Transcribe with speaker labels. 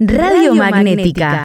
Speaker 1: Radiomagnética.